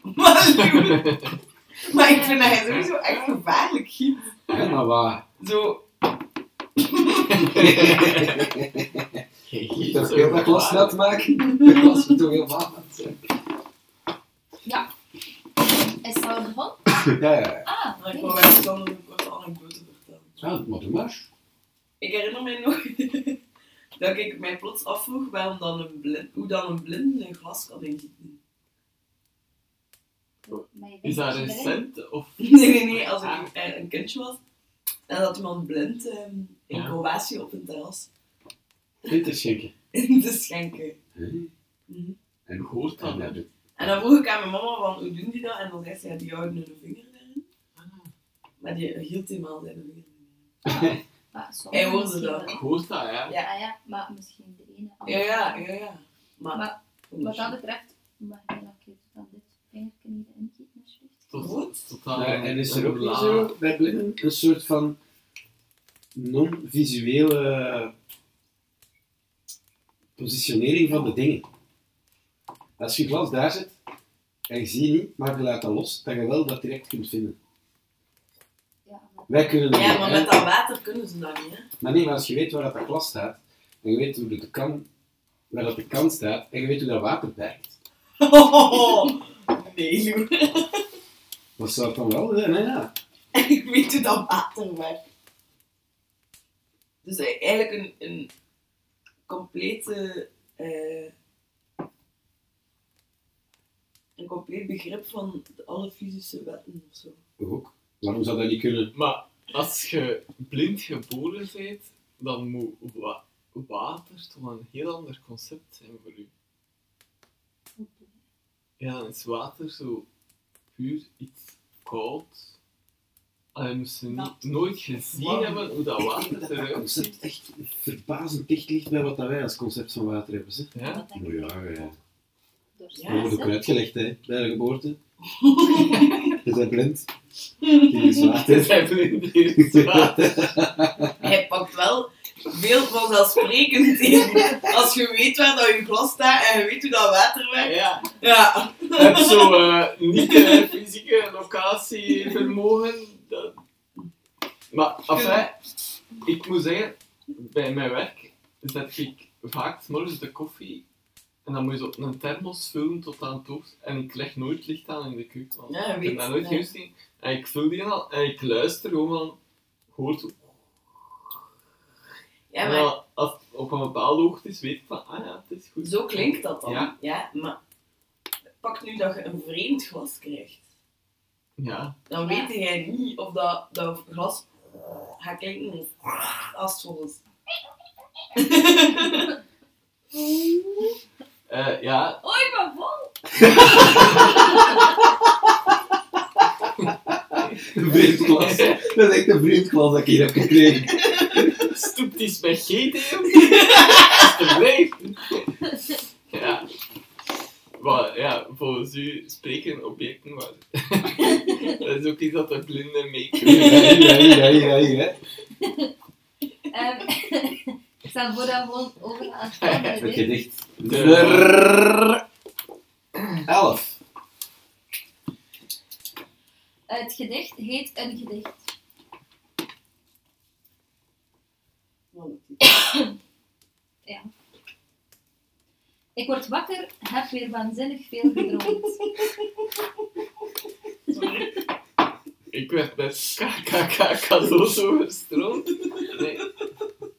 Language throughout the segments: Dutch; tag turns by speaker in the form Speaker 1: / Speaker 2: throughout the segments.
Speaker 1: Maar, maar ik vind dat hij sowieso echt gevaarlijk giet.
Speaker 2: Ja, maar waar.
Speaker 1: Zo.
Speaker 2: Ik dat heel dat glas nat maken. Dat glas moet toch heel vaak nat zijn.
Speaker 3: Is dat al gevonden?
Speaker 2: Ja, ja, ja.
Speaker 3: Ah,
Speaker 1: Maar ik
Speaker 3: oké.
Speaker 1: wou echt dan een korte anekdote vertellen.
Speaker 2: Ja, maar doe maar.
Speaker 1: Ik herinner mij nog dat ik mij plots afvroeg waarom dan een blind, hoe dan een blinde een glas kan ingieten.
Speaker 3: Maar je denkt
Speaker 4: Is dat
Speaker 3: je erin-
Speaker 4: recent? Of...
Speaker 1: Nee, nee, nee, als ik eh, een kindje was. En dat iemand blind eh, in
Speaker 4: Ja.
Speaker 1: Kroatië op een terras
Speaker 2: Peter schenken.
Speaker 1: in te schenken.
Speaker 2: Hm.
Speaker 1: Mhm.
Speaker 2: En
Speaker 4: Ik hoor dat
Speaker 2: en
Speaker 4: wel.
Speaker 2: dat nou doet-
Speaker 1: En dan vroeg ik aan mijn mama van hoe doen die dat? En dan zei ze, ja, die houden hun vinger erin. Maar die hield eenmaal zijn vinger erin.
Speaker 3: Maar soms
Speaker 1: Hij hoorde
Speaker 3: misschien
Speaker 1: dat.
Speaker 3: wel.
Speaker 4: Ik hoor dat, ja.
Speaker 1: Ja.
Speaker 3: Ah ja, maar misschien de ene.
Speaker 1: Ja, ja, ja, ja. Maar,
Speaker 3: Maar Wat dat
Speaker 1: dat
Speaker 3: betreft, mag je nog even dan dit vingertje niet ingieten, alsjeblieft.
Speaker 4: Tot,
Speaker 1: Goed.
Speaker 4: tot aan-
Speaker 2: Ja, en is er ook niet
Speaker 4: laag.
Speaker 2: zo bij blinden een soort van non-visuele positionering van de dingen? Als je glas daar zit en je ziet niet, maar je laat dat los, dat je wel dat direct kunt vinden.
Speaker 3: Ja, maar
Speaker 2: Wij kunnen dat
Speaker 1: ja,
Speaker 2: niet,
Speaker 1: maar
Speaker 2: hè.
Speaker 1: met dat water kunnen ze dat niet, hè?
Speaker 2: Maar nee, maar als je weet waar dat, dat glas staat, en je weet hoe dat de kan, waar dat de kan staat, en je weet hoe dat water werkt,
Speaker 1: nee, Lou.
Speaker 2: dat zou het dan wel zijn, hè? Ja.
Speaker 1: ik weet hoe dat water werkt. Dus eh, eigenlijk een, een complete... eh, een compleet begrip van alle fysische wetten of zo.
Speaker 2: Ook. Waarom zou dat niet kunnen?
Speaker 4: Maar als je blind geboren bent, dan moet wa- water toch een heel ander concept zijn voor u. Ja, dan is water zo puur iets koud. Alleen moest je niet, nooit gezien
Speaker 2: Warm.
Speaker 4: hebben hoe
Speaker 2: Ik
Speaker 4: dat
Speaker 2: denk
Speaker 4: water
Speaker 2: dat dat
Speaker 4: eruit ziet.
Speaker 2: concept echt verbazend dicht ligt bij wat dat wij als concept van water hebben. Ze.
Speaker 4: Ja?
Speaker 3: dat denk ik
Speaker 2: ja, ja.
Speaker 3: door
Speaker 2: Dat wordt ook
Speaker 3: ja.
Speaker 2: uitgelegd hè, bij de geboorte. Je bent blind. Hier is
Speaker 4: Ze
Speaker 2: water.
Speaker 4: zijn blind, hier is water.
Speaker 1: Hij pakt wel veel vanzelfsprekend in. Als je weet waar dat je glas staat en je weet hoe dat water werkt.
Speaker 4: Ja.
Speaker 1: Ja.
Speaker 4: heb zo eh, niet eh, fysieke locatievermogen. Dat... Maar enfin, ik moet zeggen, bij mijn werk zet ik vaak 's morgens de koffie en dan moet je zo een thermos vullen tot aan het hoofd. En ik leg nooit licht aan in de keuken, want
Speaker 1: Ja,
Speaker 4: ik
Speaker 1: weet
Speaker 4: heb daar nooit
Speaker 1: je,
Speaker 4: gerust in. En ik vul die al en ik luister gewoon van, hoort hoe-
Speaker 1: ja,
Speaker 4: en
Speaker 1: maar
Speaker 4: dan als het op een bepaalde hoogte is, weet ik van, ah ja, het is goed.
Speaker 1: zo klinkt dat dan. Ja.
Speaker 4: Ja.
Speaker 1: maar pak nu dat je een vreemd glas krijgt.
Speaker 4: Ja,
Speaker 1: Dan weet jij niet of dat, dat glas gaat klinken of als het vol is.
Speaker 4: Eh, ja
Speaker 3: Oh, ik ben vol!
Speaker 2: Een vreemd glas. Dat is echt een vreemd glas dat ik hier heb gekregen.
Speaker 4: Stoept die spaghetti op? Alsjeblieft. ja. Maar ja, volgens u spreken objecten waar. dat is ook iets dat de blinden
Speaker 2: Ja,
Speaker 4: meekrijgen.
Speaker 2: hier, hier, hier, hier, hè.
Speaker 3: Ehm, ik stel voor dat we gewoon over aan het volgende
Speaker 2: Het
Speaker 3: ding.
Speaker 2: gedicht. Nummer 11.
Speaker 3: Het gedicht heet Een Gedicht. Ik word wakker, heb weer waanzinnig veel gedroomd.
Speaker 1: Sorry.
Speaker 4: Ik werd met KKK cadeaus overstroomd. Nee,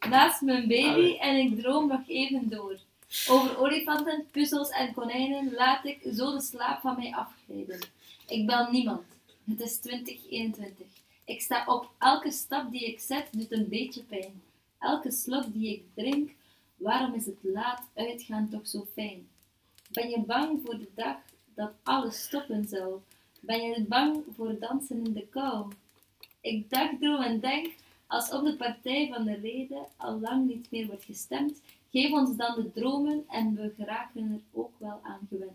Speaker 3: Naast mijn baby en ik droom nog even door. Over olifanten, puzzels en konijnen laat ik zo de slaap van mij afglijden. Ik bel niemand. Het is 2021. Ik sta op. Elke stap die ik zet doet een beetje pijn. Elke slok die ik drink, waarom is het laat uitgaan toch zo fijn? Ben je bang voor de dag dat alles stoppen zal? Ben je bang voor dansen in de kou? Ik dagdroom en denk, als op de partij van de reden al lang niet meer wordt gestemd, geef ons dan de dromen en we geraken er ook wel aan gewend.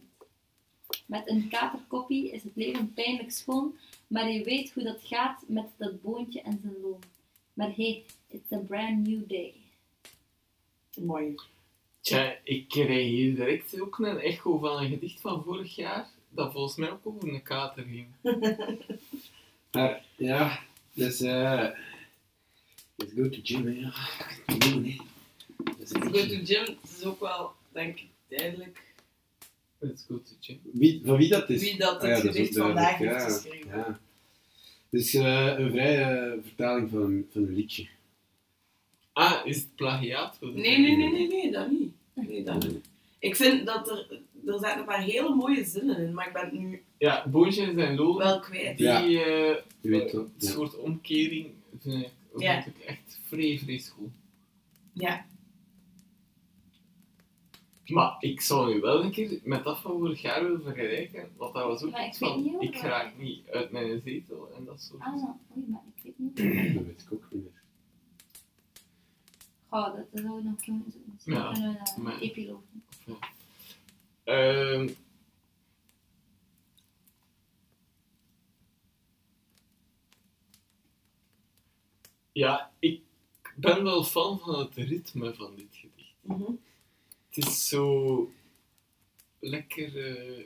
Speaker 3: Met een katerkoppie is het leven pijnlijk schoon, maar je weet hoe dat gaat met dat boontje en zijn loon. Maar hey, it's a brand new day.
Speaker 1: Mooi.
Speaker 4: tja, ik kreeg hier direct ook een echo van een gedicht van vorig jaar. dat volgens mij ook over een kater ging.
Speaker 2: Maar ja, dus eh. let's go to gym, hè. ja. Doen, hè. Dus een
Speaker 1: Go
Speaker 2: beetje-
Speaker 1: to gym, het is ook wel, denk ik, duidelijk
Speaker 4: Let's go to gym.
Speaker 2: Wie, van wie dat is?
Speaker 1: wie dat
Speaker 2: Ah ja,
Speaker 1: het
Speaker 2: dat is
Speaker 1: gedicht
Speaker 2: ook
Speaker 1: vandaag
Speaker 2: duidelijk,
Speaker 1: heeft
Speaker 2: ja.
Speaker 1: geschreven.
Speaker 2: Ja. Dus eh, een vrije vertaling van, van een liedje.
Speaker 4: Ah, is het plagiaat? Wat is
Speaker 1: Nee,
Speaker 4: het?
Speaker 1: nee, nee, nee, nee, dat niet. Nee, dat niet. Ik vind dat er, er zaten een paar hele mooie zinnen in, maar ik ben het nu
Speaker 4: Ja, Boosje en zijn loon,
Speaker 1: wel kwijt.
Speaker 4: die
Speaker 2: Ja.
Speaker 4: eh,
Speaker 2: Je weet wel.
Speaker 4: een soort omkering vind ik,
Speaker 1: Ja.
Speaker 4: vind ik echt vrij, vrij goed.
Speaker 1: Ja.
Speaker 4: Maar ik zou nu wel een keer met dat van vorig jaar willen vergelijken, want dat was ook
Speaker 3: Maar ik
Speaker 4: iets
Speaker 3: weet
Speaker 4: van,
Speaker 3: niet hoe
Speaker 4: ik
Speaker 3: dat-
Speaker 4: raak niet uit mijn zetel en dat soort
Speaker 3: Ah,
Speaker 4: dingen.
Speaker 3: oei, maar ik weet niet.
Speaker 2: Dat weet ik ook niet meer.
Speaker 3: Goh, dat dat zouden we nog kunnen zoeken.
Speaker 4: Ja,
Speaker 3: Dat kunnen we
Speaker 4: maar-
Speaker 3: een epiloog doen.
Speaker 4: Ehm, ja, ik ben wel fan van het ritme van dit gedicht.
Speaker 1: Mhm.
Speaker 4: Het is zo lekker. eh,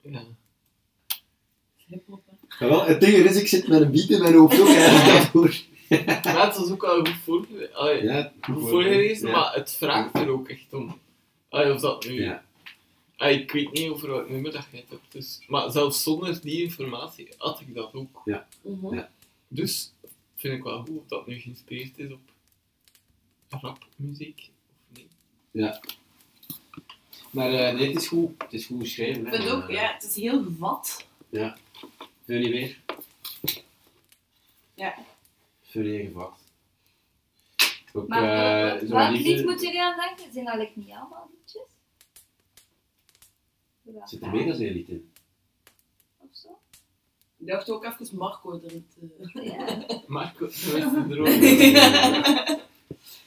Speaker 4: ja.
Speaker 1: Hip-hop, hè.
Speaker 2: Maar wel, het ding is, ik zit met een beat in mijn hoofd ook eigenlijk daarvoor.
Speaker 4: Maar het was ook al goed voorgelezen, allee,
Speaker 2: Ja,
Speaker 4: goed voorgelezen
Speaker 2: ja.
Speaker 4: maar het vraagt er ook echt om. Allee, of dat nu.
Speaker 2: Ja.
Speaker 4: allee, ik weet niet over welk nummer dat jij het hebt. Dus. Maar zelfs zonder die informatie had ik dat ook.
Speaker 1: Mhm.
Speaker 2: Ja.
Speaker 4: Dus vind ik wel goed of dat nu geïnspireerd is op rapmuziek of niet.
Speaker 2: Maar eh, nee, het is goed. Het is goed geschreven.
Speaker 1: Ik
Speaker 2: hè.
Speaker 1: vind ook,
Speaker 2: Eh,
Speaker 1: ja, het is heel gevat.
Speaker 2: Veel niet meer.
Speaker 1: Ja.
Speaker 2: Veel niet gevat. Ook,
Speaker 3: Maar
Speaker 2: eh,
Speaker 3: wat-
Speaker 2: zo'n
Speaker 3: welk
Speaker 2: liefde-
Speaker 3: lied moeten jullie aan denken? Zijn dat eigenlijk niet allemaal liedjes? Ja,
Speaker 2: Zit er meer dan één lied in?
Speaker 3: Of zo?
Speaker 1: Ik dacht ook even Marco erin te...
Speaker 3: Ja.
Speaker 4: Marco, de beste
Speaker 2: Ja, dus-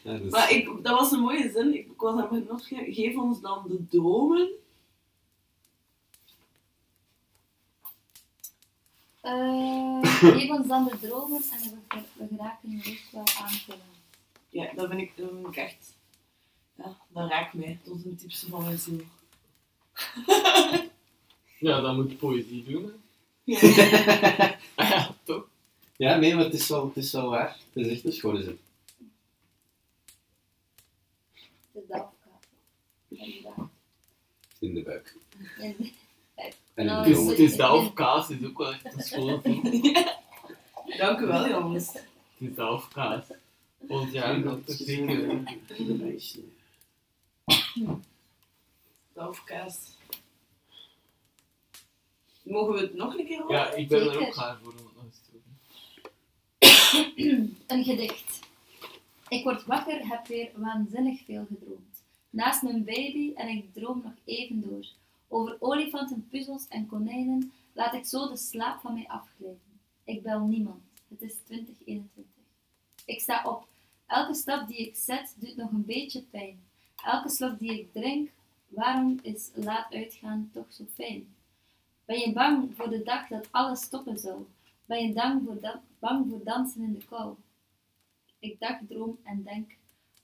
Speaker 2: dat is-
Speaker 1: Maar ik, dat was een mooie zin. Ik, ik was aan het opschrijven. Geef ons dan de dromen.
Speaker 3: Eh, geef ons dan de dromen en we, ger- we geraken nu echt wel aan te vullen.
Speaker 1: Ja, dat vind ik, dat vind ik echt... Ja, dat raakt mij. Tot een diepste van mijn ziel.
Speaker 4: Ja, dat moet poëzie doen. hè.
Speaker 1: Ja.
Speaker 4: Ah ja, toch?
Speaker 2: Ja, nee, maar het is wel, het is wel waar. Het is echt een schone zin.
Speaker 3: Dus dat afkaart. Inderdaad.
Speaker 2: In de buik.
Speaker 3: En-
Speaker 2: En in
Speaker 3: Nou,
Speaker 2: de
Speaker 4: Het is,
Speaker 2: jongen.
Speaker 4: het is dat of kaas, is ook wel echt een school. toch?
Speaker 1: Dank u wel, jongens.
Speaker 4: Het is dat of kaas. Volgend jaar dat is Eh, zeker.
Speaker 1: Daufkaas. Mogen we het nog een keer horen?
Speaker 4: Ja, ik ben er
Speaker 3: Zeker.
Speaker 4: ook klaar voor om het nog eens te doen.
Speaker 3: Een gedicht. Ik word wakker, heb weer waanzinnig veel gedroomd. Naast mijn baby en ik droom nog even door. Over olifanten, puzzels en konijnen laat ik zo de slaap van mij afglijden. Ik bel niemand. Het is 2021. Ik sta op. Elke stap die ik zet doet nog een beetje pijn. Elke slok die ik drink, waarom is laat uitgaan toch zo fijn? Ben je bang voor de dag dat alles stoppen zal? Ben je bang voor, dan- bang voor dansen in de kou? Ik dagdroom en denk,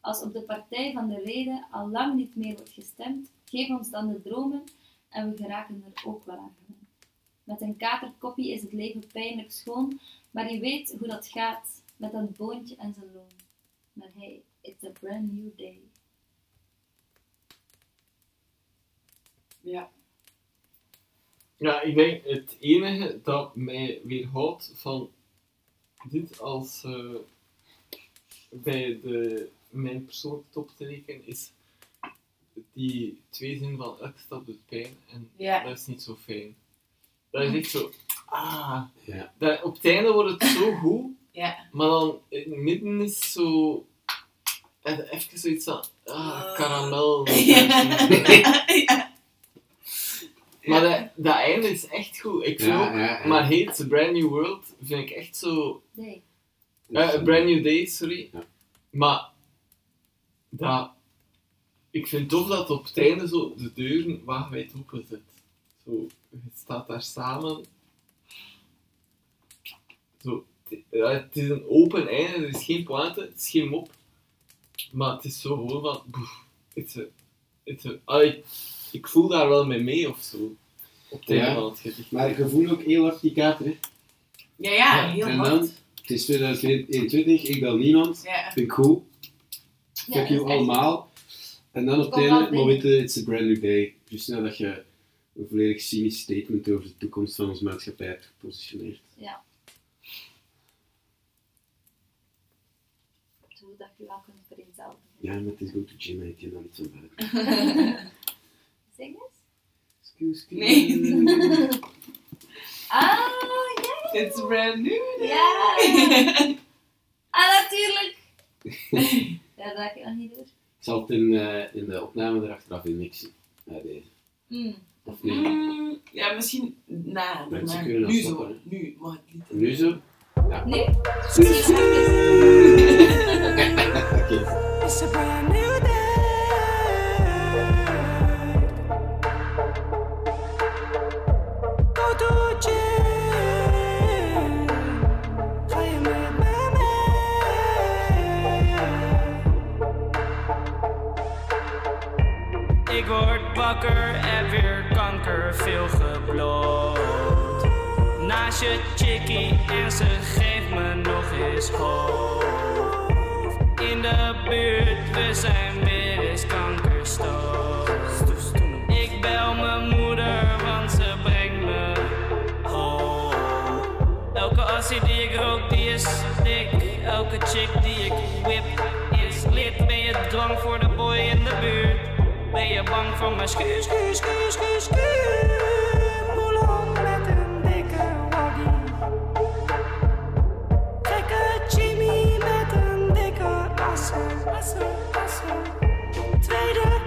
Speaker 3: als op de partij van de reden al lang niet meer wordt gestemd, geef ons dan de dromen en we geraken er ook wel aan gewend. Met een katerkoppie is het leven pijnlijk schoon, maar je weet hoe dat gaat met dat boontje en zijn loon. Maar hey, it's a brand new day.
Speaker 1: Ja.
Speaker 4: Ja, ik denk het enige dat mij weerhoudt van dit als eh, bij de, mijn persoonlijke top te rekenen, is die twee zin van elke stap doet pijn en
Speaker 1: Ja.
Speaker 4: dat is niet zo fijn. Dat is echt zo, ah.
Speaker 2: Ja.
Speaker 4: Dat, op het einde wordt het zo goed,
Speaker 1: Ja.
Speaker 4: maar dan in het midden is zo. eh, Even zoiets van, ah, karamel.
Speaker 1: ja.
Speaker 4: Maar dat, dat einde is echt goed. Ik vind ook
Speaker 2: Ja, ja, ja.
Speaker 4: Maar heet A Brand New World vind ik echt zo.
Speaker 3: Day.
Speaker 4: eh, A Brand New Day, sorry.
Speaker 2: Ja.
Speaker 4: Maar dat, ik vind tof dat op het einde zo de deuren wagenwijd openzet. Zo, je staat daar samen. Zo, het, ja, het is een open einde, er is geen pointe, het is geen mop. Maar het is zo gewoon van. boef, it's a- it's a- ah, ik, ik voel daar wel mee mee of zo. het thema van het gedicht.
Speaker 2: Maar je voelt ook heel hard die kater. Hè.
Speaker 1: Ja, ja, heel
Speaker 2: en dan,
Speaker 1: hard.
Speaker 2: het is 2021, ik bel niemand.
Speaker 1: Ja.
Speaker 2: Vind ik goed.
Speaker 3: Ja,
Speaker 2: Fuck
Speaker 3: dat is
Speaker 2: you
Speaker 3: echt-
Speaker 2: allemaal. En dan op het
Speaker 3: Kom
Speaker 2: einde,
Speaker 3: wel binnen.
Speaker 2: moment, eh, it's a brand new day. Dus nadat je een volledig cynisch statement over de toekomst van onze maatschappij hebt gepositioneerd.
Speaker 3: Zodat je wel kunt vereenzelvigen.
Speaker 2: Ja, maar het is goed to gym, ik ken daar niet zo van.
Speaker 3: Zing eens.
Speaker 2: Excuse me.
Speaker 1: Nee.
Speaker 3: Ah,
Speaker 1: It's brand new.
Speaker 3: ja. Ja.
Speaker 1: Ja.
Speaker 3: Ah, natuurlijk. Ja, dat heb ik nog niet door.
Speaker 2: Ik zal het in, eh, in de opname erachteraf in mixen. Ja, deze.
Speaker 3: Mm.
Speaker 2: Of niet?
Speaker 1: Mm, ja, misschien na.
Speaker 2: Mensen
Speaker 1: daarna.
Speaker 2: kunnen dat
Speaker 1: nu zo.
Speaker 2: stoppen, hè.
Speaker 1: Nu mag het niet.
Speaker 2: En nu zo? Ja.
Speaker 3: Nu? Hmm.
Speaker 2: Oké.
Speaker 5: It's a brand new day. Go to gym. Playing with
Speaker 6: Ik word wakker en weer kanker, veel gebloot. Naast je chickie en ze geeft me nog eens hoop. In de buurt, we zijn weer eens kankerstoot. Ik bel mijn moeder, want ze brengt me hoop. Elke assie die ik rook, die is dik. Elke chick die ik whip, is lid. Ben je dwang voor de boy in de buurt? Ben je bang voor mijn skuur, skuur, skuur, skuur, skuur?
Speaker 5: Boulon met een dikke waggie. Gekke Jimmy met een dikke assen. assen, assen. Tweede